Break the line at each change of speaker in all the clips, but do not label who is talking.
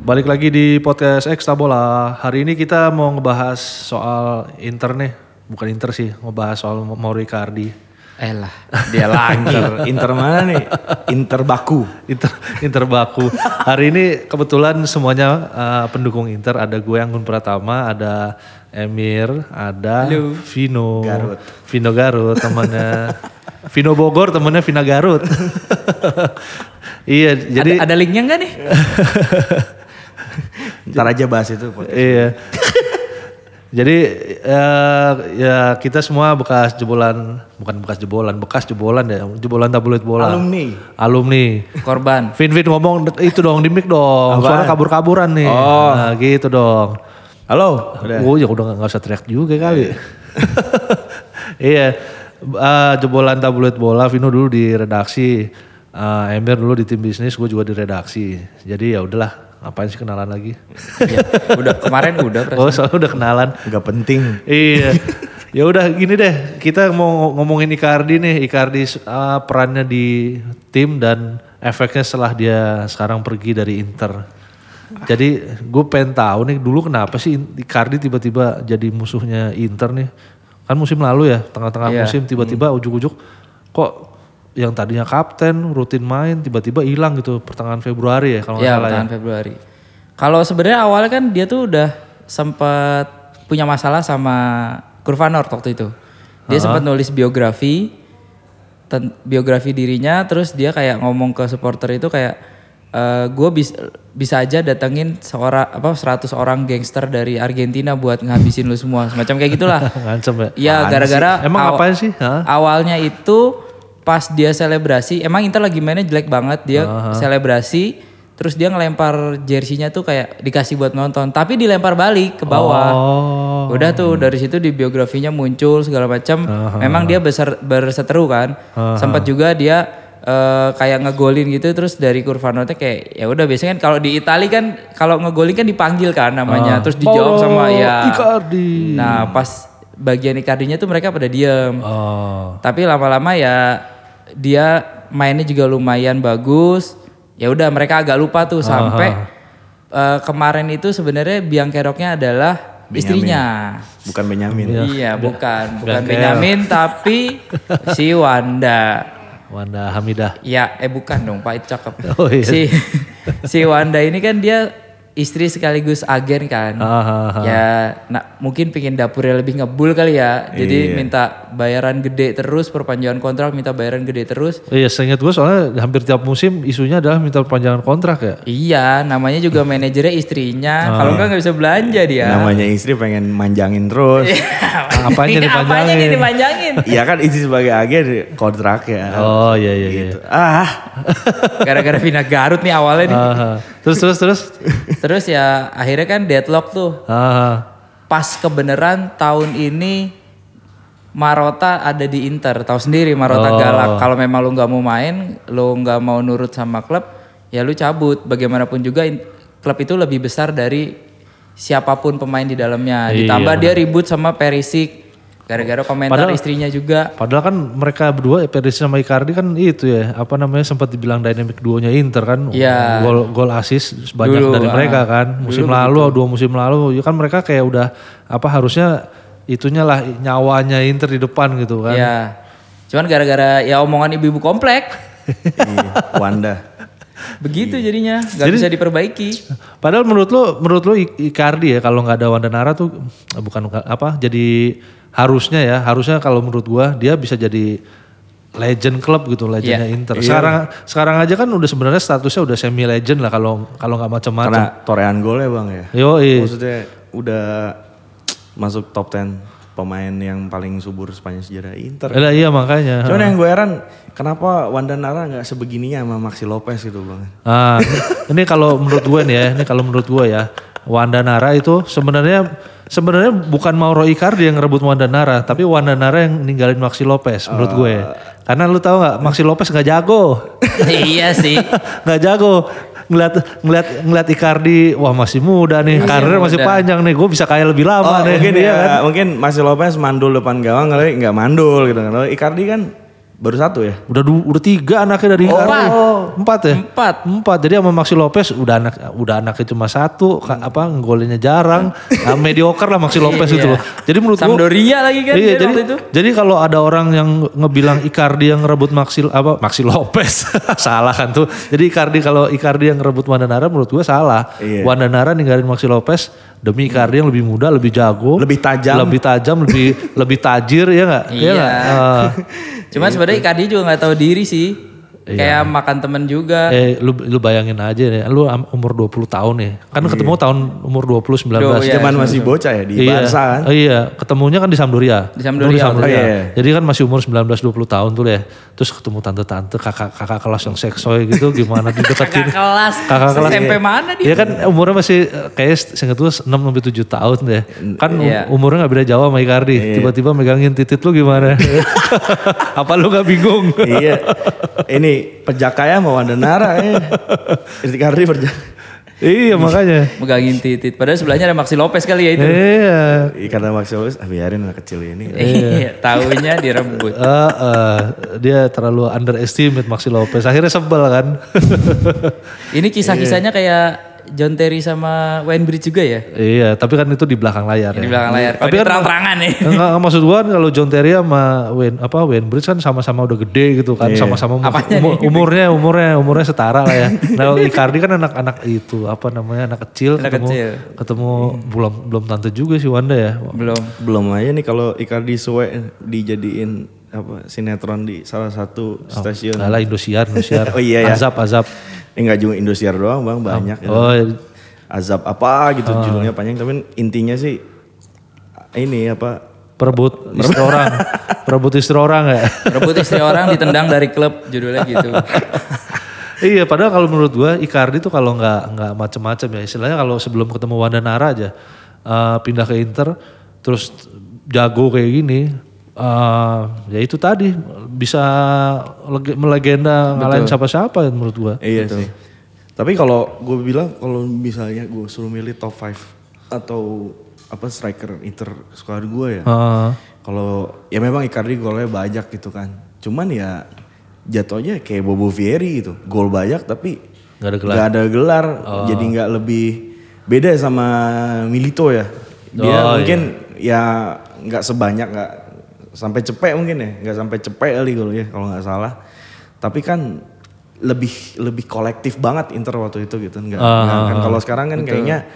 Balik lagi di podcast Ekstra Bola. Hari ini kita mau ngebahas soal Inter nih. Bukan Inter sih, ngebahas soal Mauro Icardi.
Eh lah, dia lagi. Inter mana nih? Inter Baku.
Inter, Inter Baku. Hari ini kebetulan semuanya uh, pendukung Inter. Ada gue Anggun Pratama, ada Emir, ada Vino.
Garut.
Vino Garut temannya. Vino Bogor temannya Vina Garut. iya, jadi
ada, ada linknya nggak nih?
Ntar aja bahas itu. Pot.
Iya. Jadi eh, ya kita semua bekas jebolan, bukan bekas jebolan, bekas jebolan ya, jebolan tabloid bola.
Alumni.
Alumni.
Korban.
Vin Vin ngomong itu dong di mic dong, suara kabur-kaburan nih. Oh. Nah, gitu dong.
Halo.
Oh ya udah nggak usah teriak juga kali. iya. Eh, jebolan tabloid bola Vino dulu di redaksi, eh, Emir dulu di tim bisnis, gue juga di redaksi. Jadi ya udahlah, ngapain sih kenalan lagi?
Ya, udah kemarin udah. Pres.
Oh, soalnya udah kenalan.
Gak penting.
Iya. ya udah gini deh, kita mau ngomongin Icardi nih, Icardi eh, perannya di tim dan efeknya setelah dia sekarang pergi dari Inter. Jadi gue pengen tahu nih dulu kenapa sih Icardi tiba-tiba jadi musuhnya Inter nih? Kan musim lalu ya, tengah-tengah
Iya.
musim tiba-tiba ujuk-ujuk kok yang tadinya kapten rutin main tiba-tiba hilang gitu pertengahan Februari ya kalau nggak
Ya
salah ya.
pertengahan Februari. Kalau sebenarnya awalnya kan dia tuh udah sempat punya masalah sama Kurvanor waktu itu. Dia sempat nulis biografi ten- biografi dirinya terus dia kayak ngomong ke supporter itu kayak gue bisa aja datengin seorang apa 100 orang gangster dari Argentina buat ngehabisin lu semua semacam kayak gitulah.
Ngancem ya.
Iya gara-gara
Emang
aw-
apaan sih? Hah?
Awalnya itu pas dia selebrasi, emang Inter lagi mainnya jelek banget dia selebrasi, terus dia ngelempar jersinya tuh kayak dikasih buat nonton, tapi dilempar balik ke bawah.
Oh.
Udah tuh dari situ di biografinya muncul segala macam. Memang dia besar berseteru kan. Sempat juga dia eh, kayak ngegolin gitu terus dari Curvanote kayak ya udah biasanya kan kalau di Itali kan kalau ngegolin kan dipanggil kan namanya, terus
Ah.
dijawab
Paolo
sama ya
Icardi.
Nah pas bagian Icardinya tuh mereka pada diem.
Oh.
Tapi lama-lama ya dia mainnya juga lumayan bagus. Ya udah mereka agak lupa
Ah,
tuh sampai eh, kemarin itu sebenarnya biang keroknya adalah istrinya.
Bukan Benyamin.
Iya, bukan bukan Benyamin tapi si Wanda.
Wanda Hamidah.
Ya, eh bukan dong Pak, itu cakep.
Oh, iya.
Si si Wanda ini kan dia istri sekaligus agen kan.
Hahaha.
Ya, nah, mungkin pingin dapurnya lebih ngebul kali ya.
Iya.
Jadi minta bayaran gede terus perpanjangan kontrak, minta bayaran gede terus.
Iya, seingat gue soalnya hampir tiap musim isunya adalah minta perpanjangan kontrak ya.
Iya, namanya juga manajernya istrinya.
Ah.
Kalau enggak nggak bisa belanja dia.
Namanya istri pengen manjangin terus.
Apanya
Apanya
dipanjangin?
nih dipanjangin?
Iya kan istri sebagai agen kontrak ya.
Oh iya iya
Gitu.
iya.
Ah.
Gara-gara Vina Garut nih awalnya nih.
Aha. Terus terus terus.
Terus ya akhirnya kan deadlock tuh.
Aha.
Pas kebenaran tahun ini Marota ada di Inter. Tahu sendiri Marota galak. Kalau memang lu nggak mau main, lu nggak mau nurut sama klub, ya lu cabut. Bagaimanapun juga in- klub itu lebih besar dari siapapun pemain di dalamnya. Ditambah dia ribut sama Perisic gara-gara komentar istrinya juga.
Padahal kan mereka berdua Perisic sama Icardi kan itu ya, apa namanya sempat dibilang dynamic duonya Inter kan.
Iya.
Gol gol asis banyak
Dulu,
dari
ah.
mereka kan. Musim lalu, dua musim lalu, ya kan mereka kayak udah apa harusnya itunya lah nyawanya Inter di depan gitu kan.
Ya. Cuman gara-gara ya omongan ibu-ibu komplek
Iya, Wanda.
begitu jadinya nggak bisa diperbaiki.
Padahal menurut lo, menurut lo I- Icardi ya kalau nggak ada Wandanara tuh eh, bukan bukan apa? Jadi harusnya ya, harusnya kalau menurut gua dia bisa jadi legend club gitu, legendnya Inter. Sekarang sekarang aja kan udah sebenarnya statusnya udah semi legend lah kalau kalau nggak macam-macam.
Karena torehan golnya bang ya.
Yo,
Maksudnya udah masuk top 10 pemain yang paling subur sepanjang sejarah Inter.
iya makanya.
Cuman yang gue heran kenapa Wanda Nara nggak sebegininya sama Maxi Lopez gitu bang?
Ah, ini kalau menurut gue nih ya, ini kalau menurut gue ya, Wanda Nara itu sebenarnya sebenarnya bukan Mauro Icardi yang ngerebut Wanda Nara, tapi Wanda Nara yang ninggalin Maxi Lopez menurut gue. Karena lu tahu nggak, Maxi Lopez nggak jago,
iya sih.
nggak jago. Ngeliat ngeliat ngeliat Icardi, wah masih muda Oh, nih, karirnya masih panjang nih, gue bisa kaya lebih lama nih. Iya
mungkin ya, mungkin Maxi Lopez mandul depan gawang kali nggak mandul gitu kan. Kalau Icardi kan Baru satu ya?
Udah du- udah tiga anaknya dari Icardi.
empat.
Oh. Empat ya?
Empat.
Empat. Jadi sama Maxi Lopez udah anak udah anaknya cuma satu, ka- apa ngegolnya jarang. Nah, mediocre lah Maxi Lopez itu
Iya.
loh. Jadi menurut gua
Sampdoria lagi kan
iya,
dia
jadi,
waktu itu.
jadi kalau ada orang yang ngebilang Icardi yang ngerebut Maxi apa Maxi Lopez salah kan tuh. Jadi Icardi kalau Icardi yang ngerebut Wandanara menurut gue salah.
Iya.
Wandanara ninggalin Maxi Lopez demi Icardi yang lebih muda, lebih jago,
Lebih tajam.
lebih tajam, lebih lebih tajir ya nggak?
Iya.
nggak? Eh.
Cuman sebenarnya Icardi juga nggak tahu diri sih. Kayak makan temen juga.
Eh, eh, lu, lu bayangin aja ya, lu am- umur 20 tahun ya. Kan ketemu tahun umur 20 19.
Duh, iya.
Zaman masih bocah ya di
Iya.
Barca kan?
Oh, iya, ketemunya kan di Sampdoria.
Di Sampdoria,
Ketemu
oh, iya.
Jadi kan masih umur 19 20 tahun tuh ya. Terus ketemu tante-tante, kakak-kakak kelas yang seksoy gitu gimana dideketin.
Kakak kelas.
Kakak kelas.
SMP mana dia?
Iya kan umurnya masih eh, kayak seingat gue 6 sampai 7 tahun deh. Kan um-
Iya.
umurnya nggak beda jauh sama Icardi. Tiba-tiba megangin titit lu gimana? Apa lu nggak bingung?
iya. Ini pejakaya mau Wandanara ya. Icardi berjaka.
iya makanya.
Megangin titit. Padahal sebelahnya ada Maxi Lopez kali ya itu.
Iya.
Karena Maxi Lopez, ah, biarin anak kecil ini.
Iya. Taunya direbut.
Eh, eh, dia terlalu underestimate Maxi Lopez. Akhirnya sebel kan.
Ini kisah-kisahnya kayak John Terry sama Wayne Bridge juga ya?
iya, tapi kan itu di belakang layar.
Di
ya.
belakang layar. Tapi
Tapi kan-
terang-terangan nih.
Enggak, enggak, maksud gua kalau John Terry sama Wayne apa Wayne Bridge kan sama-sama udah gede gitu kan, sama-sama umur-
Iya. Apanya
umur- umurnya umurnya umurnya setara lah ya. Nah, Icardi kan anak-anak itu apa namanya anak kecil
Anak
ketemu
kecil. Iya.
ketemu belum belum tante juga sih Wanda ya.
Belum.
Belum aja nih kalau Icardi suwe dijadiin apa sinetron di salah satu
Iya.
stasiun.
Nah, lah Indosiar, Indosiar.
Oh, iya ya.
Azab, Azab.
Ini nggak cuma Indosiar doang bang, banyak.
Iya.
gitu.
Oh,
Azab apa gitu judulnya panjang, tapi intinya sih ini apa
perebut istri orang. Perebut istri orang ya.
Rebut istri orang ditendang dari klub judulnya gitu.
Iya, padahal kalau menurut gua Icardi tuh kalau nggak nggak macem-macem ya istilahnya kalau sebelum ketemu Wanda Nara aja eh, pindah ke Inter terus jago kayak gini eh, ya itu tadi bisa lege- melegenda ngalahin siapa-siapa ya menurut gua.
Iya sih. Tapi kalau gue bilang kalau misalnya gue suruh milih top 5 atau apa striker Inter squad gue ya.
Eh,
Kalau ya memang Icardi golnya banyak gitu kan. Cuman ya jatuhnya kayak Bobo Vieri gitu. Gol banyak tapi
nggak ada gelar. Oh.
nggak ada gelar. Jadi nggak lebih beda sama Milito ya. Dia
Oh, iya.
mungkin ya nggak sebanyak nggak sampai cepek mungkin ya, nggak sampai cepek kali golnya kalau nggak salah. Tapi kan lebih lebih kolektif banget Inter waktu itu gitu nggak
Ah,
nggak- kan kalau sekarang kan kayaknya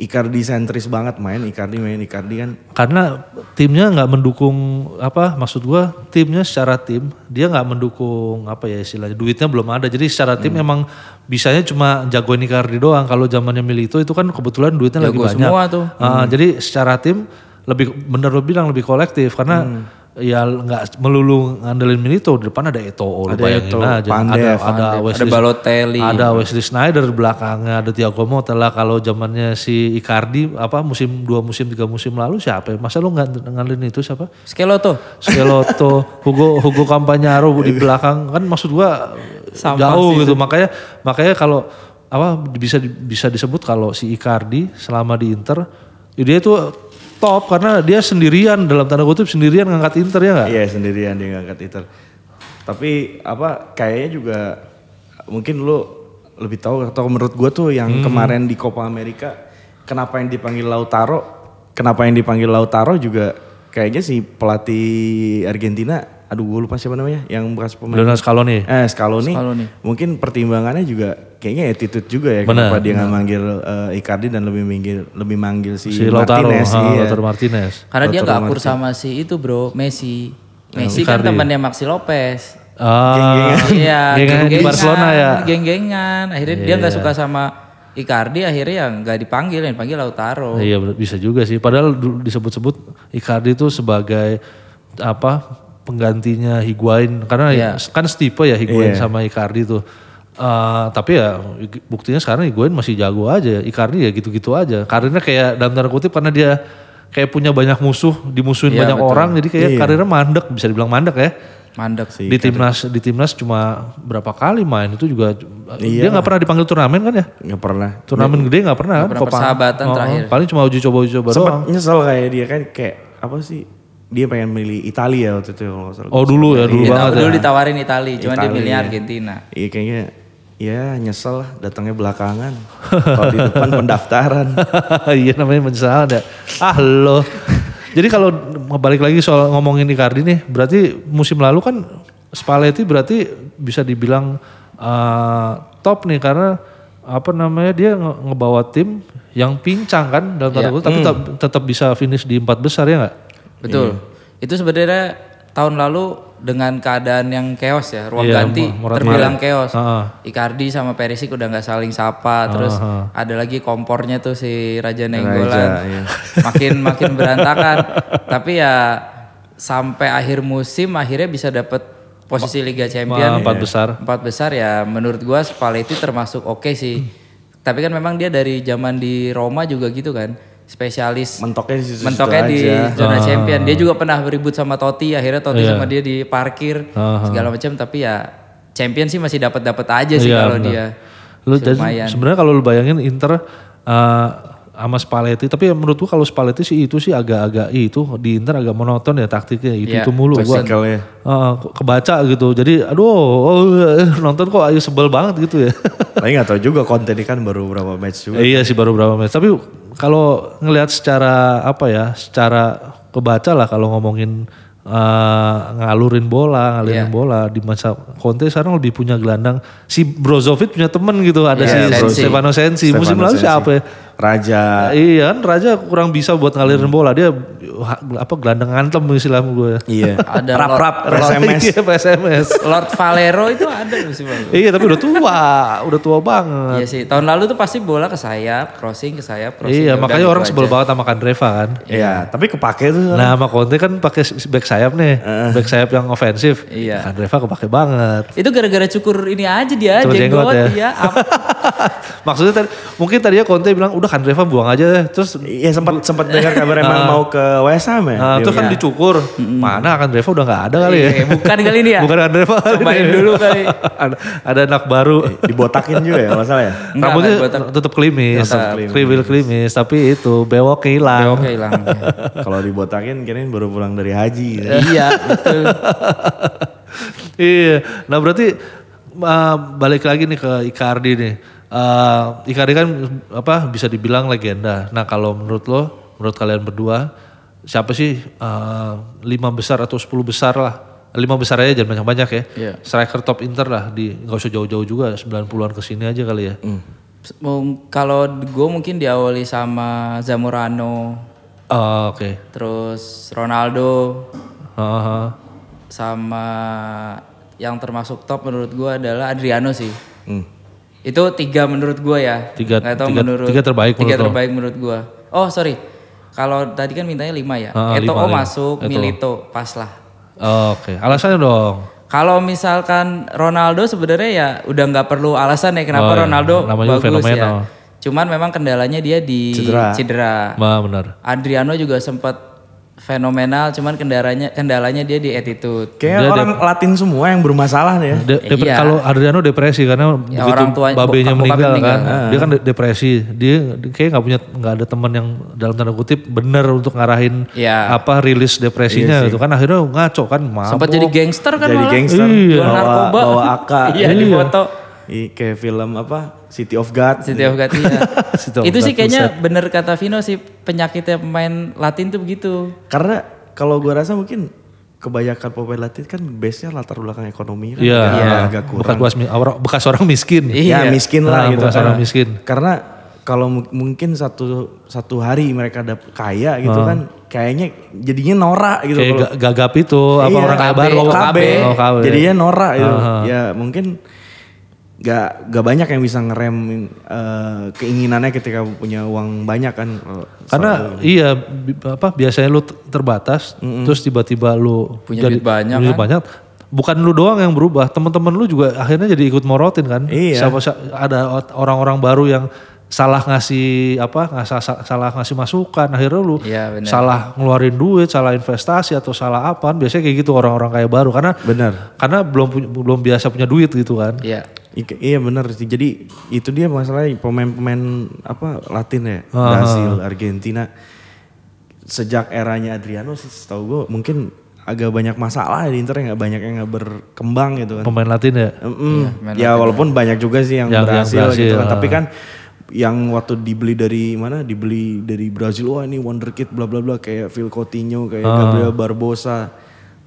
Icardi sentris banget main Icardi main Icardi kan
Karena timnya nggak mendukung apa maksud gua timnya secara tim dia nggak mendukung apa ya istilahnya duitnya belum ada jadi secara tim
Hmm.
emang bisanya cuma jagoin Icardi doang kalau zamannya Milito itu kan kebetulan duitnya lagi
Jago
banyak
semua tuh. Hmm.
Ah, jadi secara tim lebih bener lo bilang lebih kolektif karena
Hmm.
ya nggak melulu ngandelin Milito di depan ada Eto'o lo bayangin aja ada ada
Ada
Wesley
Balotelli.
ada Wesley Snyder di belakangnya, ada Thiago Motta lah kalau zamannya si Icardi apa musim dua musim tiga musim lalu siapa? ya? Masa lu nggak ngandelin itu siapa?
Skeloto.
Skeloto, Hugo Hugo Campagnaro di belakang kan maksud gua
Sampah
jauh gitu. Makanya makanya kalau apa bisa di- bisa disebut kalau si Icardi selama di Inter ya dia itu top karena dia sendirian dalam tanda kutip sendirian ngangkat Inter ya nggak?
Iya sendirian dia ngangkat Inter. Tapi apa kayaknya juga mungkin lu lebih tahu atau menurut gua tuh yang kemarin di Copa America kenapa yang dipanggil Lautaro kenapa yang dipanggil Lautaro juga kayaknya si pelatih Argentina aduh gua lupa siapa namanya yang bekas pemain
Leonel Scaloni.
eh Scaloni,
Scaloni.
mungkin pertimbangannya juga kayaknya attitude juga ya
Bener,
kenapa dia nggak manggil eh, Icardi dan lebih manggil lebih manggil si,
Si Lautaro,
Martinez
ah,
iya.
Lautaro Martinez.
Karena dia nggak akur sama si itu bro, Messi. Messi kan temannya Maxi Lopez.
Ah, gengangan
Iya,
di
geng-gengan,
Barcelona ya. Iya.
Geng-gengan. Akhirnya dia nggak suka sama Icardi, akhirnya ya nggak dipanggil, yang dipanggil Lautaro.
Iya bener, bisa juga sih. Padahal dulu disebut-sebut Icardi itu sebagai apa penggantinya Higuain karena
Iya.
kan setipe ya Higuain sama Icardi tuh. Eh, tapi ya buktinya sekarang Higuain masih jago aja. Icardi ya gitu-gitu aja. Karirnya kayak dalam tanda kutip karena dia kayak punya banyak musuh, dimusuhin
Iya,
banyak orang, jadi kayak karirnya mandek bisa dibilang mandek ya.
Mandek sih.
di timnas di timnas cuma berapa kali main itu juga
Iya.
dia nggak pernah dipanggil turnamen kan ya?
nggak pernah
Turnamen gede nggak pernah kan?
pernah persahabatan
Oh, oh.
terakhir.
Paling cuma uji coba uji coba doang.
Sempet nyesel kayak dia kan kayak apa sih dia pengen milih Italia ya waktu itu kalau nggak salah.
Oh dulu ya, dulu
Dulu,
banget ya.
ditawarin Itali, cuman dia
Itali,
milih
iya.
Argentina.
Iya kayaknya ya nyesel lah datangnya belakangan. Kalau di depan pendaftaran.
iya namanya menyesal ada. Ah lo. Jadi kalau balik lagi soal ngomongin Icardi nih, berarti musim lalu kan Spalletti berarti bisa dibilang eh, top nih karena apa namanya dia nge- ngebawa tim yang pincang kan dalam tanda kutip, tapi tetap- tetap bisa finish di empat besar ya nggak?
Betul.
Iya.
Itu sebenarnya tahun lalu dengan keadaan yang keos ya, ruang
Iya,
ganti
Mo- Morata.
terbilang keos.
Heeh.
Icardi sama Perisic udah nggak saling sapa, terus ada lagi kompornya tuh si Raja Nenggolan.
iya.
Makin makin berantakan. Tapi ya sampai akhir musim akhirnya bisa dapet posisi Liga
Wah,
Champion
Ah, empat besar.
Empat besar ya menurut gua Spalletti termasuk oke sih. Tapi kan memang dia dari zaman di Roma juga gitu kan. Spesialis
Mentoknya di situ,
mentoknya di
aja.
zona
Ah.
champion. Dia juga pernah beribut sama Totti, akhirnya Totti
Iya.
sama dia diparkir
Ah.
segala macam tapi ya champion sih masih dapat-dapat aja sih
Iya,
kalau
benar.
dia.
Lu
Masih
jadi
lumayan.
sebenarnya kalau lu bayangin Inter eh, sama Spalletti, tapi ya menurut gua kalau Spalletti sih itu sih agak-agak itu di Inter agak monoton ya taktiknya itu
Iya,
itu mulu gua.
Tacticalnya.
Eh, kebaca gitu. Jadi aduh oh, eh, nonton kok ayo sebel banget gitu ya.
Tapi nggak tahu juga kontennya kan baru berapa match juga.
Eh, iya sih baru berapa menit. Tapi kalau ngelihat secara apa ya, secara kebaca lah kalau ngomongin eh, ngalurin bola,
Iya.
ngalurin bola di masa Conte sekarang lebih punya gelandang. Si Brozovic punya temen gitu, ada
Iya,
si
Sensi.
Stefano Sensi. Musim
Stefano
lalu
Sensi.
siapa ya?
Raja
Iya kan Raja kurang bisa buat ngalirin bola dia ha- apa gelandang ngantem istilah gue. ya.
iya.
Ada
rap
Lord-
rap SMS.
Iya, PSMS.
Lord Valero itu ada musim lalu.
iya tapi udah tua, udah tua banget.
Iya sih, tahun lalu tuh pasti bola ke sayap, crossing ke sayap, crossing.
Iya,
ya udah
makanya
gitu
orang
aja.
sebel banget sama Kandreva kan.
Iya, tapi kepake tuh.
Nah, sama Conte kan pakai back sayap nih, back sayap yang ofensif.
Iya.
Kan Reva kepake banget.
Itu gara-gara cukur ini aja dia,
Cukur jenggot
jenggot,
ya.
dia apa
Maksudnya tadi, mungkin tadinya Conte bilang udah kan Reva buang aja deh. Terus
Iya sempat sempat dengar kabar emang mau ke West Ham ya.
nah,
Dia
terus kan dicukur. Mana kan Reva udah nggak ada kali ya.
Iya, bukan kali ini ya?
Bukan kan Reva. kali
Cobain
ini.
dulu kali. Iya.
ada, ada anak baru.
dibotakin juga ya nggak salah ya.
Enggak,
Rambutnya
enggak, botak.
tetap klimis, kriwil klimis, tapi itu bewok hilang.
Oke, hilang.
Kalau dibotakin kirain baru pulang dari haji. gitu.
iya, betul.
Iya. Nah berarti uh, balik lagi nih ke Icardi nih. Uh, Icardi kan apa bisa dibilang legenda. Nah kalau menurut lo, menurut kalian berdua, siapa sih uh, lima besar atau sepuluh besar lah? Lima besar aja jangan banyak-banyak ya.
Iya.
Striker top Inter lah di nggak usah jauh-jauh juga 90-an ke sini aja kali ya.
Mung- Kalau gue mungkin diawali sama Zamorano,
Ah, Oke. Ah,
terus Ronaldo,
Haha.
sama yang termasuk top menurut gue adalah Adriano sih. Itu tiga menurut gue ya.
Hmm. Tiga-
Nggak tahu
tiga-
menurut
tiga terbaik
Tiga
menurut lo?
terbaik menurut gue. Oh sorry, kalau tadi kan mintanya lima ya.
Ah,
Eto'o
lima, lima.
masuk, Milito pas lah.
Ah, Oke. Alasannya dong.
Kalau misalkan Ronaldo sebenarnya ya udah nggak perlu alasan ya kenapa
Oh, iya.
Ronaldo
Namanya
bagus
fenomenal.
ya. Cuman memang kendalanya dia di
Cedera.
Nah, benar.
Adriano juga sempat fenomenal, cuman kendaranya kendalanya dia di attitude.
Kayaknya orang Latin semua yang bermasalah nih ya.
De- depre-
Iya. Ya,
Kalau Adriano depresi karena begitu
orang tua-
babenya
bokap- bokapnya
meninggal
meninggal.
kan, dia kan de- depresi. Dia di- kayak nggak punya nggak ada teman yang dalam tanda kutip bener untuk ngarahin
Iya.
apa rilis depresinya gitu kan. Akhirnya ngaco kan mabok.
Sempat jadi gangster kan
Jadi
malah.
gangster,
Jual
bawa
narkoba.
bawa AK.
iya, di foto.
I- kayak film apa City of God.
Siti Afgat, iya.
Situ
Itu sih
Afgat,
kayaknya bener kata Vino sih penyakitnya pemain Latin tuh begitu.
Karena kalau gua rasa mungkin kebanyakan pemain Latin kan base-nya latar belakang ekonomi kan
Iya.
agak, agak
Bekas,
kurang.
mi- orang- bekas orang miskin.
Iya.
Ya miskin lah
Nah,
gitu.
bekas orang miskin.
Karena kalau mu- mungkin satu satu hari mereka ada kaya gitu kan kayaknya jadinya norak gitu
Kayak
kalau
ga- gagap itu apa
Iya,
orang
KB,
kabar lo
OKB.
Oh, KB.
Jadinya norak gitu. Ya mungkin gak, gak banyak yang bisa ngerem eh, keinginannya ketika punya uang banyak kan.
Karena iya bi- apa biasanya lu t- terbatas, terus tiba-tiba lu
Punya duit banyak kan?
punya banyak. Bukan lu doang yang berubah, teman-teman lu juga akhirnya jadi ikut morotin kan.
Iya.
Siapa si- ada ot- orang-orang baru yang salah ngasih apa ngasih salah ngasih masukan akhirnya lu
Iya, benar.
salah ngeluarin duit salah investasi atau salah apa biasanya kayak gitu orang-orang kaya baru karena
Benar.
karena belum punya- belum biasa punya duit gitu kan
Iya.
I- iya benar sih. Jadi itu dia masalahnya pemain-pemain apa Latin ya, Brasil, Argentina. sejak eranya Adriano sih setahu gue mungkin agak banyak masalah di Inter yang nggak banyak yang nggak berkembang gitu kan.
Pemain Latin ya.
Mm, ya walaupun banyak juga sih yang,
Yang- yang
berhasil, gitu
berhasil,
kan.
ah.
Tapi kan yang waktu dibeli dari mana? Dibeli dari Brazil. Wah ini wonder kid bla bla bla kayak Phil Coutinho, kayak
Ah.
Gabriel Barbosa.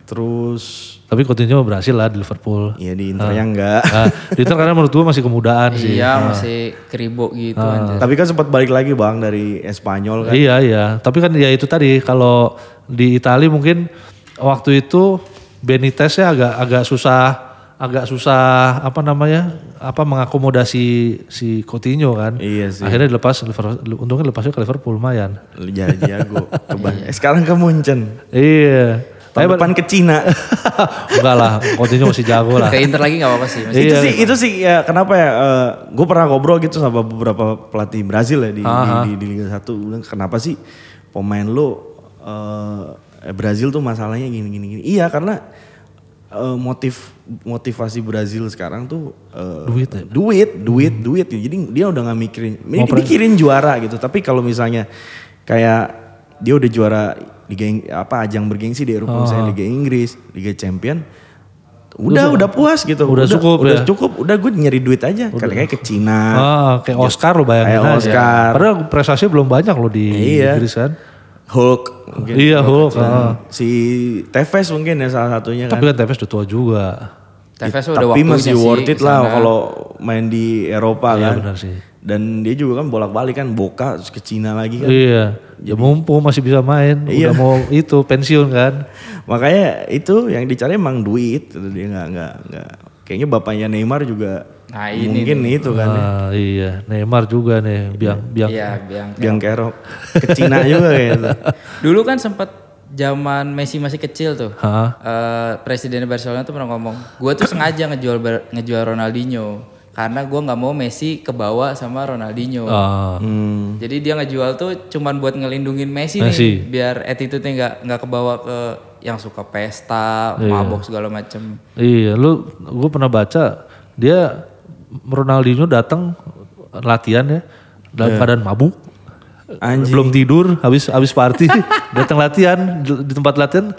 Terus
Tapi Coutinho berhasil lah di Liverpool.
Iya.
ya di Inter yang enggak.
Nah, di Inter karena menurut gua masih kemudahan sih.
Iya masih keribo gitu
Ah.
anjir.
Tapi kan sempat balik lagi Bang dari Espanyol kan.
Iya iya, tapi kan ya itu tadi kalau di Italia mungkin waktu itu Beniteznya agak agak susah agak susah apa namanya apa mengakomodasi si Coutinho kan.
Iya sih.
Akhirnya dilepas Liver- untungnya lepasnya ke Liverpool lumayan.
Jadi jago ke Ban- Eh, Sekarang ke Munchen.
Iya. Tapi
Tahun depan ke Cina.
enggak lah, Coutinho masih jago lah.
Ke Inter lagi nggak apa-apa
Iya,
sih. masih-
itu sih itu sih ya kenapa ya gue pernah ngobrol gitu sama beberapa pelatih Brazil ya di di- di, di Liga 1 Gua bilang kenapa sih pemain lo eh, Brazil tuh masalahnya gini gini gini iya karena eh, motif motivasi Brazil sekarang tuh eh,
Duit ya.
duit duit duit jadi dia udah nggak mikirin ini mikirin juara gitu tapi kalau misalnya kayak dia udah juara liga Ing- apa ajang bergengsi di Eropa misalnya Liga Inggris Liga Champion udah udah puas gitu
udah cukup
udah
ya.
cukup udah gue nyari duit aja kali kayak ke Cina
Ah, kayak Oscar lo bayangin
Kayak
aja.
Oscar.
Padahal prestasi belum banyak lo di
Iya.
Inggris kan.
Hulk mungkin.
Iya, Hulk. ah.
si Tevez mungkin ya salah satunya kan
Tapi kan Tevez udah tua juga.
Tevez udah
Iya, tapi
waktunya
masih
sih
worth it
kesana.
lah kalau main di Eropa
Iya
kan
benar sih.
dan dia juga kan bolak-balik kan Boka terus ke Cina lagi kan
Iya, ya mumpung masih bisa main, udah mau itu pensiun kan.
makanya itu yang dicari emang duit gitu. dia nggak nggak nggak kayaknya bapaknya Neymar juga
Nah, ini
mungkin itu kan
Ah, iya, Neymar juga nih, biang biang.
Iya, biang.
Ah.
biang kerok ke Cina juga gitu
Dulu kan sempat zaman Messi masih kecil tuh.
Hah?
Eh, Presiden Barcelona tuh pernah ngomong, gue tuh sengaja ngejual Bar- ngejual Ronaldinho karena gue nggak mau Messi kebawa sama Ronaldinho.
Ah,
Hmm.
Jadi dia ngejual tuh cuman buat ngelindungin Messi,
Messi.
nih, biar attitude-nya nggak nggak kebawa ke yang suka pesta, mabok segala macem.
Iya, lu gue pernah baca dia Ronaldinho datang latihan ya
Iya.
dalam keadaan mabuk.
Anjing.
Belum tidur habis habis party datang latihan di, di tempat latihan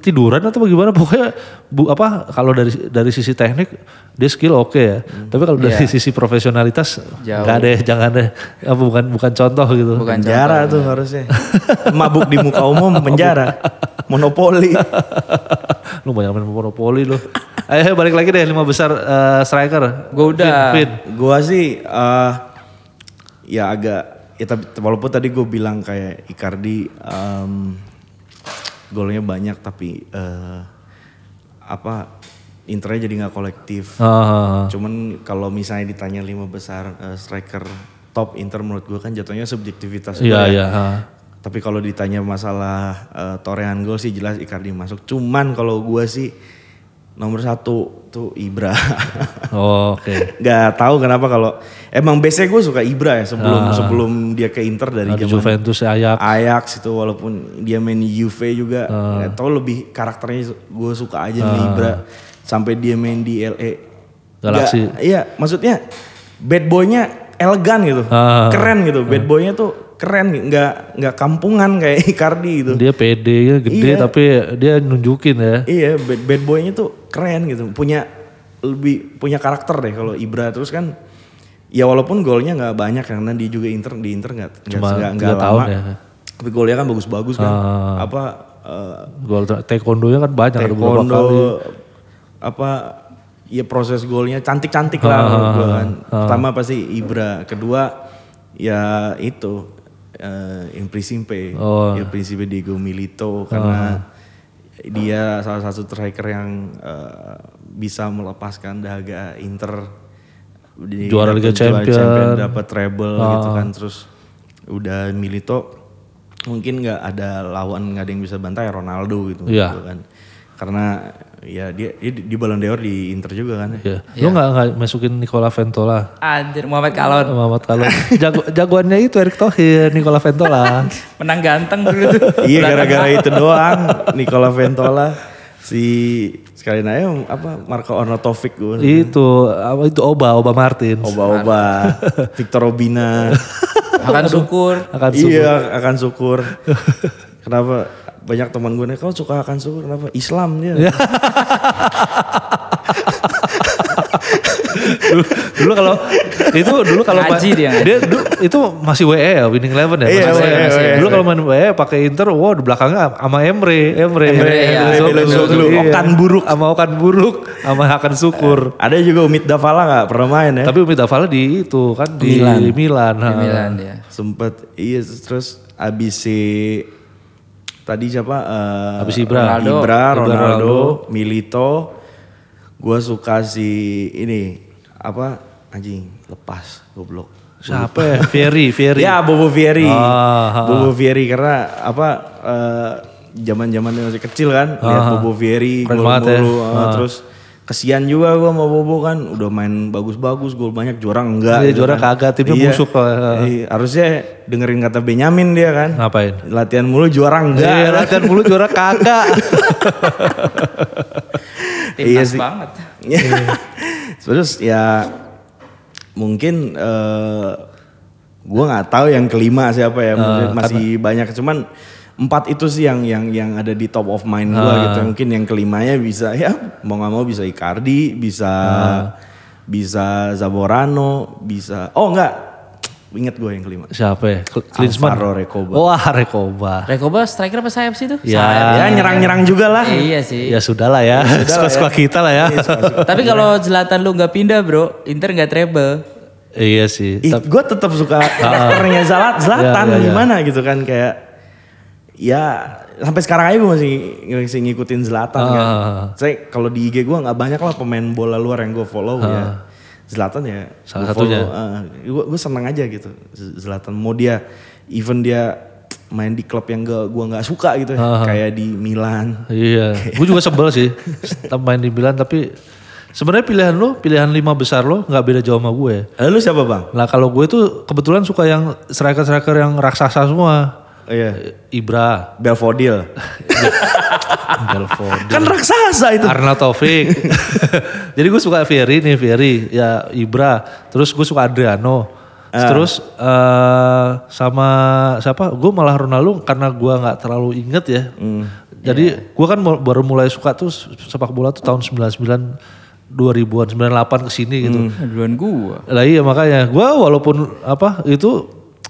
tiduran atau bagaimana pokoknya bu apa kalau dari dari sisi teknik dia skill oke ya
Hmm.
tapi kalau
Iya.
dari sisi profesionalitas nggak deh jangan deh apa bukan bukan contoh gitu
Bukan
penjara tuh harusnya mabuk di muka umum penjara monopoli
lu banyak main monopoli lu ayo balik lagi deh lima besar eh, striker
Gua udah.
Vin, Vin.
gua sih eh, ya agak ya tapi walaupun tadi gue bilang kayak Icardi em, golnya banyak tapi eh, apa Internya jadi nggak kolektif
Ah,
Cuman kalau misalnya ditanya lima besar eh, striker top Inter menurut gue kan jatuhnya
iya
subjektivitas juga ya.
iya ah.
Tapi kalau ditanya masalah eh, torehan gol sih jelas Icardi masuk. Cuman kalau gue sih nomor satu tuh Ibra.
Oh, oke
Gak tahu kenapa kalau emang biasanya gue suka Ibra ya sebelum sebelum dia ke Inter dari
Ada
zaman
Juventus Ajax Ah.
Ajax itu walaupun dia main Juve juga nggak tahu lebih karakternya gue suka aja nih Ibra sampai dia main di LA
Galaxy.
Nggak- iya maksudnya bad boynya elegan gitu
Ah.
keren gitu bad boynya tuh keren nggak nggak kampungan kayak Icardi gitu
dia pede gede
Iya.
tapi dia nunjukin ya
Iya, bad, bad boy-nya tuh keren gitu. Punya lebih punya karakter deh kalau Ibra terus kan ya walaupun golnya nggak banyak karena dia juga Inter di Inter nggak nggak-
Cuma
nggak-
tiga
nggak
tahun
lama.
ya.
Tapi golnya kan bagus-bagus kan.
Ah.
Apa eh,
gol ter- taekwondonya kan banyak ada beberapa
taekwondo
kali
apa ya proses golnya cantik-cantik
Ah,
lah menurut gua kan. Pertama pasti Ibra, kedua ya itu eh yang Prisimpe,
Oh. Ah.
yang Prisimpe Diego Milito karena dia salah satu striker yang eh, bisa melepaskan dahaga Inter Di-
Juara
dapet
Liga Champion. Ah.
dapat treble gitu kan terus udah Milito mungkin nggak ada lawan nggak ada yang bisa bantai Ronaldo gitu
Iya.
gitu kan karena ya dia, dia di di Ballon d'Or di Inter juga kan
Iya. lu nggak nggak masukin Nicola Ventola
Anjir Muhammad Kalon
Muhammad kalau jago, jagoannya itu Erick Thohir Nicola Ventola
menang ganteng dulu tuh.
iya gara-gara itu doang Nicola Ventola si sekalian aja apa Marco Arnautovic gue
itu apa itu Oba Oba Martin
oba-oba Victor Robina
Akan syukur.
akan
iya akan syukur Kenapa banyak teman gue nih, kau suka akan suku kenapa? Islam dia.
dulu, dulu kalau itu dulu kalau
Ngaji dia, ngaji.
dia dulu, itu masih WE ya winning eleven ya.
Iya,
masih
WE,
masih
WE.
Dulu kalau main WE pakai Inter, wow di belakangnya sama Emre, Emre,
Emre, iya.
Soglu,
Emre Soglu.
iya.
Okan buruk.
sama Okan buruk, sama Hakan Syukur.
Ada juga Umid Davala nggak pernah main ya?
Tapi Umi Davala di itu kan di
Milan.
Milan.
Di
ha.
Milan ya. dia.
Sempet iya terus abis si tadi siapa? eh,
Abis Ibra.
Ronaldo,
Ronaldo.
Ibra,
Ibra,
Ronaldo,
Ronaldo.
Milito. Gue suka si ini apa anjing lepas goblok.
Siapa ya? Ferry, Ferry.
Ya Bobo Vieri.
Ah, ah,
Bobo Vieri karena apa zaman zaman masih kecil kan
Ah,
lihat
ah.
Bobo Vieri
Keren
gol
banget ya.
mulu, ah, terus kesian juga gua sama Bobo kan udah main bagus-bagus gol banyak juara enggak gitu kan.
Iya, juara kagak, timnya busuk, ah.
Iya, harusnya dengerin kata Benyamin dia kan
Ngapain?
latihan mulu juara
Iya,
enggak
latihan mulu juara kagak.
Timnas
sih.
banget.
Iya. Terus ya mungkin eh gua nggak tahu yang kelima siapa ya, Maksudnya masih banyak cuman empat itu sih yang yang yang ada di top of mind gua gitu. Mungkin yang kelimanya bisa ya mau nggak mau bisa Icardi, bisa bisa Zaborano, bisa oh enggak ingat gua yang kelima.
Siapa ya? Kl- Klinsmann.
Alvaro Recoba.
Wah, Recoba.
Rekoba striker apa sayap sih tuh?
Ya.
Sayap.
Ya nyerang-nyerang juga lah.
Ah. Iya sih.
Ya sudahlah ya, suka-suka kita lah
Iya,
ya.
Tapi kalau Zlatan lu nggak pindah bro, Inter nggak treble.
iya sih.
Ih, gue tetap suka
Ah.
karakternya Zlat,
Iya, iya,
Zlatan
iya.
gimana gitu kan kayak ya sampai sekarang aja gue masih, masih ngikutin Zlatan kan.
Ah.
Saya kalau di IG gue nggak banyak lah pemain bola luar yang gue follow ya. Zlatan
Ah.
ya
Salah
gua follow.
satunya.
Ah, Gue gue seneng aja gitu Z- Zlatan mau dia even dia main di klub yang gak, gue nggak suka gitu ya.
Ah.
kayak di Milan.
Iya, gue juga sebel sih tetap main di Milan tapi sebenarnya pilihan lo, pilihan lima besar lo nggak beda jauh sama gue.
Lalu Eh, siapa bang?
Nah kalau gue tuh kebetulan suka yang striker-striker yang raksasa semua.
Oh, iya.
Ibra,
Belfodil.
Belfort,
kan raksasa itu.
Arnautovic. Jadi gue suka Fieri nih, Fieri. Ya Ibra. Terus gue suka Adriano. Terus eh, sama siapa? Gue malah Ronaldo karena gue nggak terlalu inget ya. Jadi gue kan mu- baru mulai suka tuh sepak bola tuh tahun 99 2000-an, 98 kesini gitu.
Duluan gua.
Lah iya makanya gue walaupun apa itu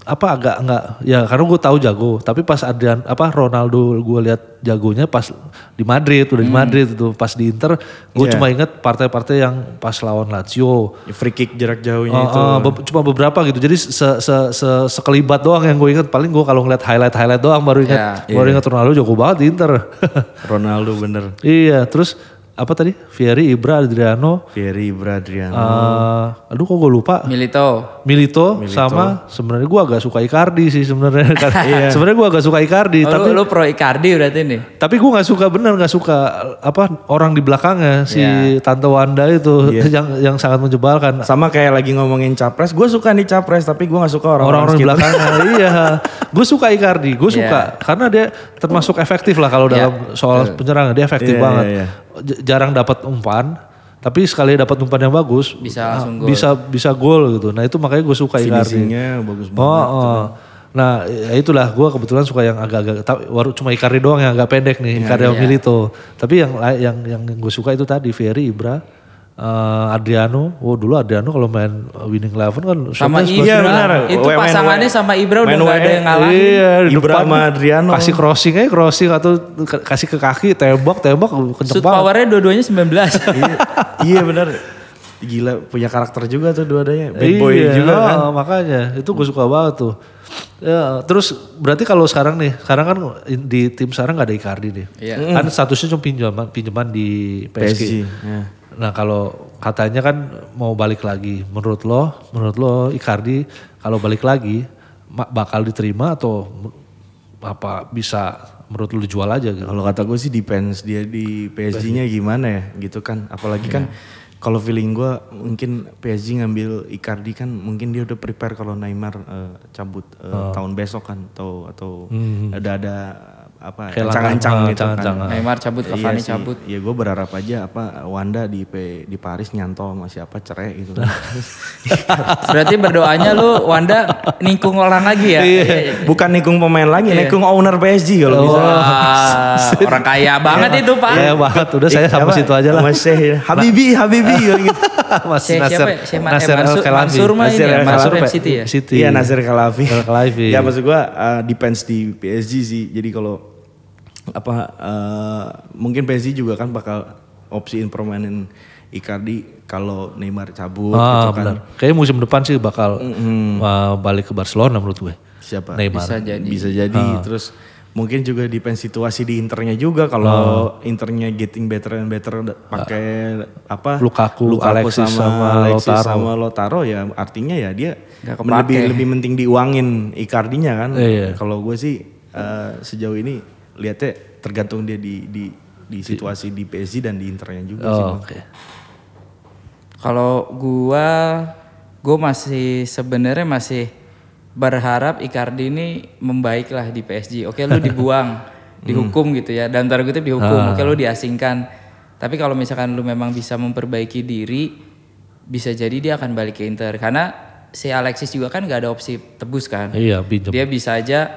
apa agak nggak ya karena gue tahu jago tapi pas Adrian apa Ronaldo gue lihat jagonya pas di Madrid udah di Madrid itu pas di Inter gue cuma inget partai-partai yang pas lawan Lazio
Free kick jarak
Eh,
jauhnya itu.
eh, be- cuma beberapa gitu jadi se, se, se, sekelibat doang yang gue inget paling gue kalau ngeliat highlight highlight doang baru inget baru inget Ronaldo jago banget di Inter Oh.
Ronaldo bener.
iya terus apa tadi Fieri Ibra Adriano
Fieri Bradrian.
eh, aduh kok gue lupa
Milito.
Milito, sama sebenarnya gua agak suka Icardi sih sebenarnya. Sebenarnya gua agak suka Icardi,
Iya.
Eh,
Oh,
tapi
lu, lu pro Icardi berarti nih.
tapi gua nggak suka bener nggak suka apa orang di belakangnya si
Iya.
Tante Wanda itu yang yang sangat menjebalkan.
Ah. Sama kayak lagi ngomongin capres, gue suka nih capres tapi gue nggak suka
Orang-orang
orang-orang
di
sekitar.
belakangnya, iya. Gue suka Icardi,
Iya.
gue suka karena dia termasuk efektif lah kalau dalam soal penyerangan dia efektif
Iya,
banget.
iya,
J- Jarang dapat umpan, tapi sekali dapat umpan yang bagus ah,
Bisa langsung gol.
bisa bisa gol gitu. Nah itu makanya gue suka Icardi.
Finishingnya bagus banget.
Oh, oh. Nah ya itulah gue kebetulan suka yang agak-agak ta- waru cuma Icardi doang yang agak pendek
Iya,
nih Icardi
iya.
sama Milito. Tapi yang la- yang yang gue suka itu tadi Ferry Ibra, eh, Adriano. Oh dulu Adriano kalau main winning eleven kan
Sama
shotnya
Ibra.
Iya, benar.
Itu
Main- main-
pasangannya sama Ibra udah
main
nggak ada
WE.
yang ngalahin.
Iya, di
Ibra
depan
sama Adriano.
Kasih crossing aja crossing atau ke- kasih ke kaki tembak tembak kenceng
Shoot
banget.
powernya dua-duanya 19.
iya, iya bener. Gila punya karakter juga tuh dua-duanya. Bad boy
Iya,
juga kan.
ah, makanya itu gue suka banget tuh. Ya, terus berarti kalau sekarang nih, sekarang kan di tim sekarang nggak ada Icardi nih.
Iya.
Kan statusnya cuma pinjaman, pinjaman di PSG.
PSG. ya.
Nah kalau katanya kan mau balik lagi, menurut lo, menurut lo Icardi kalau balik lagi ma- bakal diterima atau m- apa bisa menurut lo dijual aja gitu?
Kalau kata gue sih depends dia di PSG-nya gimana ya gitu kan. Apalagi kan
Iya.
kalau feeling gue mungkin PSG ngambil Icardi kan mungkin dia udah
Oh. Hmm.
prepare kalau Neymar eh, cabut eh, tahun besok kan atau atau ada ada apa
Kehilangan,
ancang-ancang
ah,
gitu kan.
ancang-ancang, ah.
Neymar cabut, Cavani
sih.
cabut.
Ya gue berharap aja apa Wanda di P- di Paris nyantol sama siapa cerai gitu.
Berarti berdoanya lu Wanda ningkung orang lagi ya? Iya, iya.
Bukan nikung pemain lagi, nikung owner PSG kalau bisa.
Oh.
Wah, orang kaya
Iya.
banget itu Pak.
Ya banget, udah saya sama
Apa?
situ aja lah.
Sama Sheikh. Habibi, Habibi gitu.
Masih
Syekh
Nasir,
siapa ya? Syekh Ma- eh,
Nasir
Mansur-
Al-Khelaifi.
Mansur mah ini ya,
Al-Khelaifi.
Mansur
Pe-
City ya?
Iya, City.
Iya Nasir Khalafi.
Nasir Khalafi.
ya maksud gua uh, depends di PSG sih. Jadi kalau apa uh, mungkin PSG juga kan bakal opsiin permanen Icardi kalau Neymar cabut
Ah,
gitu kan.
benar. Kayaknya musim depan sih bakal uh, balik ke Barcelona menurut gue.
Siapa?
Neymar.
Bisa jadi.
Bisa jadi. Terus mungkin juga depends situasi di internya juga kalau internya getting better and better da- pakai apa
Lukaku, Alexis sama
Alexis
Lautaro.
sama Lautaro ya artinya ya dia
Nggak
men-
kepake.
lebih lebih penting diuangin Icardinya kan.
Iya.
Kalau gue sih eh, sejauh ini lihatnya tergantung dia di di di situasi di PSG dan di internya juga sih.
Oh, Oke.
Kalau gua gua masih sebenarnya masih berharap Icardi ini membaiklah di PSG. Oke, lu dibuang, dihukum gitu ya. Dalam tanda kutip dihukum. Oke, lu diasingkan. Tapi kalau misalkan lu memang bisa memperbaiki diri, bisa jadi dia akan balik ke Inter karena si Alexis juga kan gak ada opsi tebus kan.
Iya, pinjam.
Dia bisa aja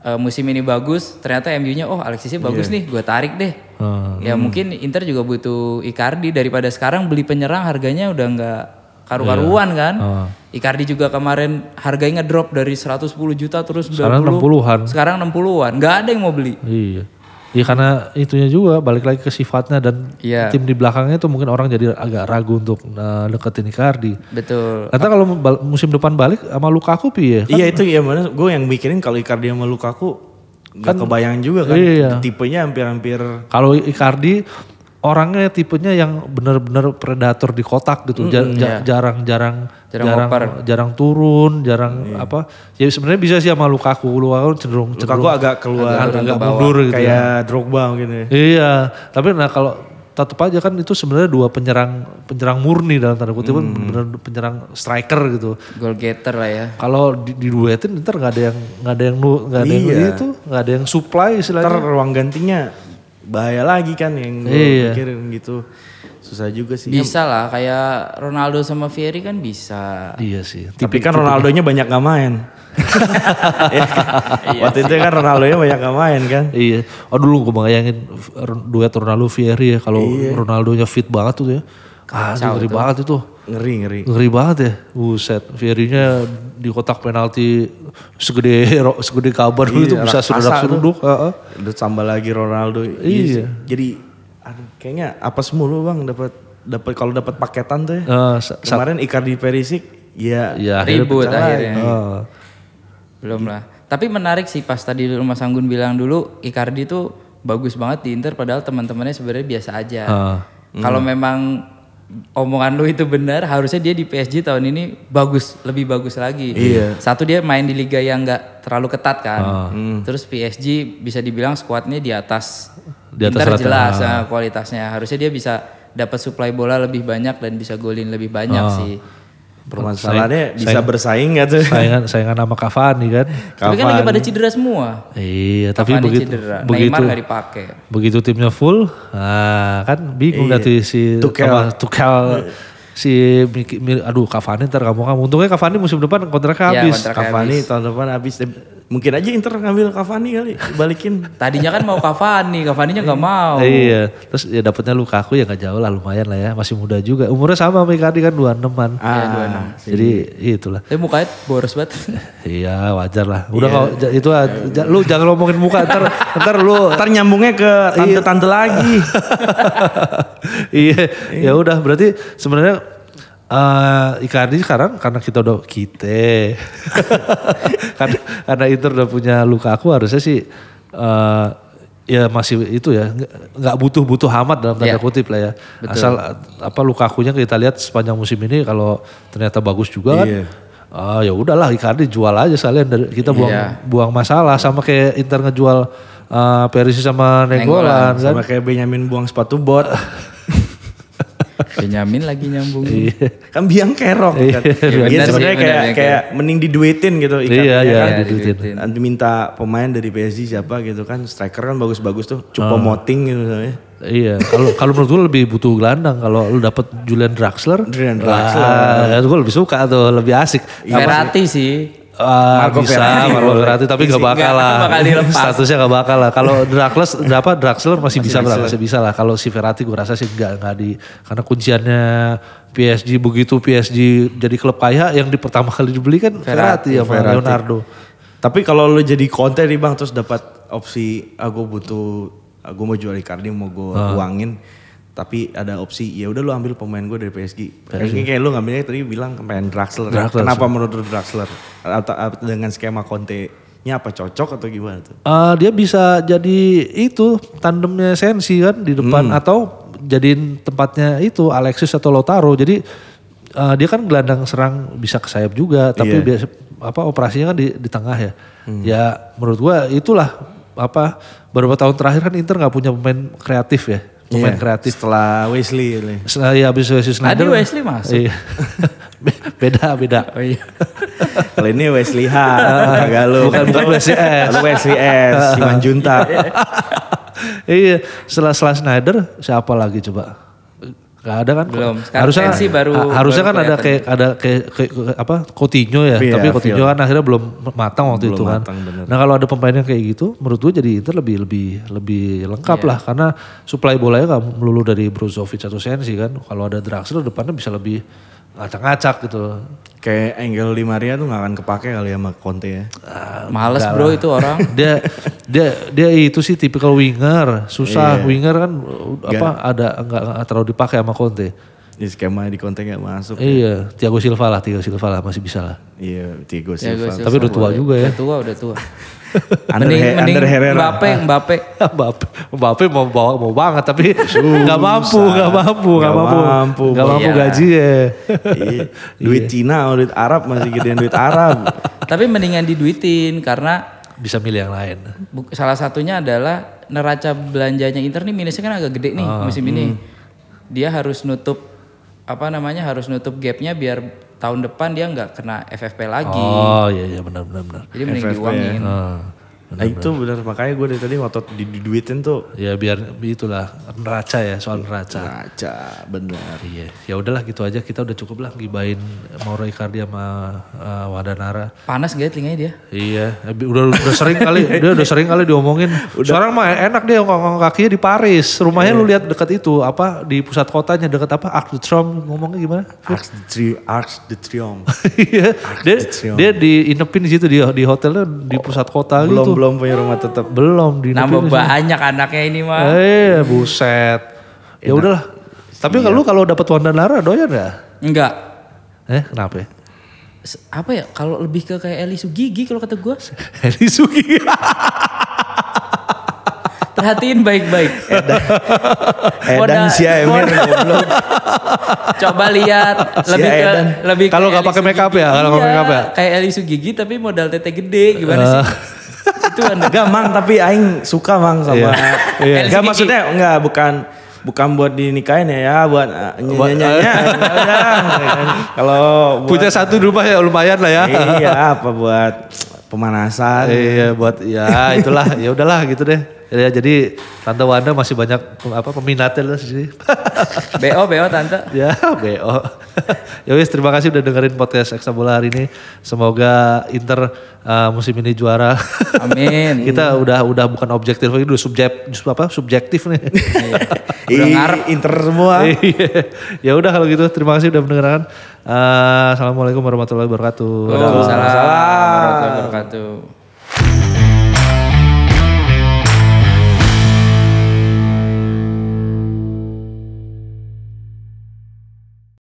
eh, musim ini bagus, ternyata MU-nya oh Alexisnya bagus nih, gue tarik deh.
Ah.
Ya
Hmm.
mungkin Inter juga butuh Icardi daripada sekarang beli penyerang harganya udah nggak karu-karuan
Iya.
kan.
Oh.
Icardi juga kemarin harganya ngedrop dari 110 juta terus
Sekarang 60-an.
Sekarang 60-an, nggak ada yang mau beli.
Iya. Iya karena itunya juga balik lagi ke sifatnya dan
Iya.
tim di belakangnya tuh mungkin orang jadi agak ragu untuk uh, deketin Icardi.
Betul.
Nanti kalau bal- musim depan balik sama Lukaku piye?
Iya itu ya mana gue yang mikirin kalau Icardi sama Lukaku nggak kebayang juga kan
Iya.
tipenya hampir-hampir
Kalau Icardi orangnya tipenya yang benar-benar predator di kotak gitu, Ja- ja- jarang-jarang
Jarang
jarang
ngoper.
jarang turun, jarang apa. Ya sebenarnya bisa sih sama Lukaku, Lukaku kan cenderung
Lukaku
cenderung
agak keluar
agak, agak mundur gitu. ya.
kayak Drogba mungkin ya.
Iya, tapi nah kalau tetap aja kan itu sebenarnya dua penyerang penyerang murni dalam tanda kutip benar penyerang striker gitu.
Goal getter lah ya.
Kalau di, diduetin ntar nggak ada yang nggak ada yang nu- nggak ada yang
Iya.
itu nggak ada yang supply istilahnya.
Ntar ruang gantinya bahaya lagi kan yang gue
Iya.
pikirin gitu. Susah juga sih.
Bisa lah kayak Ronaldo sama Fieri kan bisa.
Iya sih.
Tapi kan Ronaldonya banyak gak main. Ya kan? Waktu itu kan Ronaldonya banyak gak main kan.
Iya. Oh dulu gue bayangin Ron- duet Ronaldo Fieri ya kalau Ronaldonya fit banget tuh ya. Ah, ngeri banget itu.
Ngeri ngeri.
Ngeri banget ya. Buset, Fierinya di kotak penalti segede segede kabar itu bisa
raksasa
seruduk-seruduk. Heeh.
Udah tambah lagi Ronaldo. Iya. sih. Jadi aduh, kayaknya apa semulu bang dapat dapat kalau dapat paketan tuh ya.
Eh, sa-
Kemarin Icardi Perisic ya,
ya akhirnya
Ribut akhirnya.
eh,
Belum lah. Tapi menarik sih pas tadi Rumah Sanggun bilang dulu Icardi tuh bagus banget di Inter padahal teman-temannya sebenarnya biasa aja.
Ah.
Kalau memang omongan lu itu benar, harusnya dia di PSG tahun ini bagus, lebih bagus lagi.
Iya.
Satu dia main di liga yang nggak terlalu ketat kan.
Ah.
Terus PSG bisa dibilang skuadnya di atas
Di atas
Inter
rata.
jelas ah, kualitasnya. Harusnya dia bisa dapat supply bola lebih banyak dan bisa golin lebih banyak
Ah.
sih.
permasalahannya bisa bersaing gak tuh?
saingan saingan sama Cavani kan.
Tapi kan lagi pada cedera semua.
Iya, tapi
Cavani
begitu
cedera,
begitu
Neymar nggak dipakai.
begitu timnya full, ah kan bingung dah tuh si
Iya. Tuchel. Iya.
apa, Tuchel si Miki- Mi- aduh Cavani ntar kamu kamu untungnya Cavani musim depan kontraknya
Iya,
habis.
kontrak.
Cavani tahun depan habis mungkin aja Inter ngambil Cavani kali balikin
Tadinya kan mau Cavani, Cavani-nya nggak mau.
Iya, terus ya dapatnya Lukaku ya nggak jauh lah lumayan lah ya, masih muda juga. Umurnya sama sama Icardi kan 26-an.
Ah,
Jadi
iya.
itulah.
Tapi mukanya boros banget.
Iya, wajar lah. Udah kalau ja- itu ah, ja- lu jangan ngomongin muka ntar ntar lu Kan?
ntar nyambungnya ke tante-tante lagi
iya ya udah berarti sebenarnya eh Icardi sekarang karena kita udah kita karena, karena Inter udah punya luka aku harusnya sih eh ya masih itu ya nggak- nggak butuh-butuh amat dalam tanda
Iya.
kutip lah ya asal eh, apa luka akunya kita lihat sepanjang musim ini kalau ternyata bagus juga kan
Iya.
ah, ya udahlah Icardi jual aja sekalian dari kita buang
Iya.
buang masalah sama kayak Inter ngejual eh Perisic sama Nengolan, kan
sama kayak Benyamin buang sepatu bot
Benyamin lagi nyambung.
Iya.
kan biang kerok kan.
benar
Iya
sih,
sebenarnya
benar,
kayak
biang
kayak mending diduitin gitu ikannya
Iya, iya,
kan.
Iya, diduitin.
diduitin.
Nanti minta pemain dari PSG siapa gitu kan striker kan bagus-bagus tuh cukup moting gitu misalnya.
Iya, kalau kalau menurut gue lebih butuh gelandang. Kalau lu dapet Julian Draxler,
Julian
Draxler, gue lebih suka tuh, lebih asik.
Verratti sih.
Ah,
Marco
bisa,
Verratti.
Marco Verratti, tapi gak bakal
Nggak,
lah.
bakal dilepas.
Statusnya gak bakal lah. Kalau Draxler, berapa Draxler masih, bisa, lah, masih bisa lah. Kalau si Verratti gue rasa sih gak, nggak di, karena kunciannya PSG begitu PSG jadi klub kaya yang di pertama kali dibeli kan Verratti, sama
Verratti.
Leonardo.
Tapi kalau lu jadi konten nih bang terus dapat opsi ah gue butuh ah, gue mau jual Icardi mau gue
Ah.
uangin tapi ada opsi ya udah lu ambil pemain gue dari PSG. Kayaknya kayak lu ngambilnya tadi bilang pemain Draxler.
Draxler.
Kenapa menurut lu Draxler? Atau atau dengan skema Conte-nya apa cocok atau gimana tuh?
Eh, dia bisa jadi itu tandemnya Sensi kan di depan
Hmm.
atau jadiin tempatnya itu Alexis atau Lautaro. Jadi eh, dia kan gelandang serang bisa ke sayap juga, tapi
Iya. Hmm.
biasa apa operasinya kan di, di tengah ya. Ya menurut gua itulah apa beberapa tahun terakhir kan Inter nggak punya pemain kreatif ya, pemain
Iya,
kreatif.
Setelah Wesley ini.
Setelah ya habis Wesley Sneijder-
Wesley masuk.
Iya. beda beda.
Oh iya.
Kalau ini Wesley H, kagak lu.
Bukan- bukan Wesley eh, S.
Lu Wesley S, Siman Junta.
iya, setelah setelah Snyder siapa lagi coba? Gak ada kan?
Belum. Sekarang
Harusnya
Sensi baru-
ha- harusnya kan
baru
ada kayak
kelihatan.
ada kayak, kayak- kayak apa? Coutinho ya,
Iya,
tapi Coutinho
Phil.
kan akhirnya belum matang waktu
Belum
itu kan.
matang, bener.
Nah, kalau ada pemain yang kayak gitu, menurut gue jadi Inter lebih lebih lebih lengkap
Iya.
lah karena supply bolanya gak melulu dari Brozovic atau Sensi kan. Kalau ada Draxler depannya bisa lebih ngacak-ngacak gitu.
Kayak Angel Di Maria tuh gak akan kepake kali sama Conte ya.
Males bro itu orang.
dia dia dia itu sih tipikal winger susah winger kan uh, apa ada nggak nggak terlalu dipakai sama Conte
Di skema di Conte gak masuk.
iya Thiago Silva lah Thiago Silva lah masih bisa lah
Iya, Thiago
Ya, gua
Silva.
sih
tapi udah tua
sama-
juga ya
Udah tua, udah tua.
Under- Under Herrera.
Mbappe, Mbappe.
Mbappe Mbappe mau bawa mau banget tapi nggak mampu nggak mampu nggak
Nggak
mampu
mampu,
nggak mampu
Bang.
gaji ya
Iya. Duit Cina, sama duit Arab masih gedean duit Arab.
Tapi mendingan diduitin karena
bisa milih yang lain
bu- salah satunya adalah neraca belanjanya Inter nih minusnya kan agak gede nih
Oh,
musim ini.
hmm.
Dia harus nutup apa namanya harus nutup gapnya biar tahun depan dia nggak kena FFP lagi.
oh iya iya benar benar benar
Jadi mending diuangin.
Ah,
Nah itu bener, makanya gue dari tadi ngotot di di- duitin tuh.
ya biar itulah neraca ya soal neraca
Ngaca, bener.
Iya, ya udahlah gitu aja kita udah cukup lah gibain Mauro Icardi sama eh, Wadanara.
Panas gak ya telinganya dia?
Iya, eh, udah udah sering kali dia udah sering kali diomongin. Sekarang mah enak dia ngomong kakinya di Paris. Rumahnya
Iya.
lu lihat dekat itu apa di pusat kotanya dekat apa Arc de Triomphe ngomongnya gimana?
Arcs de, tri Arcs de Triomphe.
Iya, dia dia diinepin di situ di di hotelnya di pusat kota
Oh, belum
gitu.
belum punya rumah tetap.
Belum diinepin.
Nambah
di situ.
banyak anaknya ini mah.
Eh, buset. Ya udahlah. Tapi
Iya.
kalau lu kalau dapat Wadanara doyan ya?
Enggak.
Eh, kenapa ya?
S- Apa ya kalau lebih ke kayak Eli Sugigi kalau kata gua.
Heri Sugi.
Perhatiin baik-baik.
Edan
Moda-
Eh, si Emir
moda-
goblok.
Coba lihat
Si
lebih ke
Edan.
lebih
Kalau nggak pakai make up ya, kalau nggak make up ya? Eh.
Kayak Eli Sugigi tapi modal tete gede gimana sih? Itu anda.
Enggak mang tapi aing suka mang sama.
Iya.
Enggak maksudnya enggak bukan bukan buat dinikahin ya, ya buat uh, nyanyiannya. Kalau buat-
Punya satu di rumah ya lumayan lah ya.
iya apa buat pemanasan.
Iya buat ya itulah ya udahlah gitu deh. Ya, jadi Tante Wanda masih banyak apa peminatnya lah di sini.
BO BO tante.
ya bo. ya wis terima kasih udah dengerin podcast Ekstra Bola hari ini. Semoga Inter uh, musim ini juara.
Amin.
Kita udah udah bukan objektif lagi udah subjek apa subjektif nih.
Ih, Inter
¿ah?
semua.
Iya. ya udah kalau gitu terima kasih udah mendengarkan. Eh, Assalamualaikum warahmatullahi wabarakatuh.
Waalaikumsalam warahmatullahi wabarakatuh.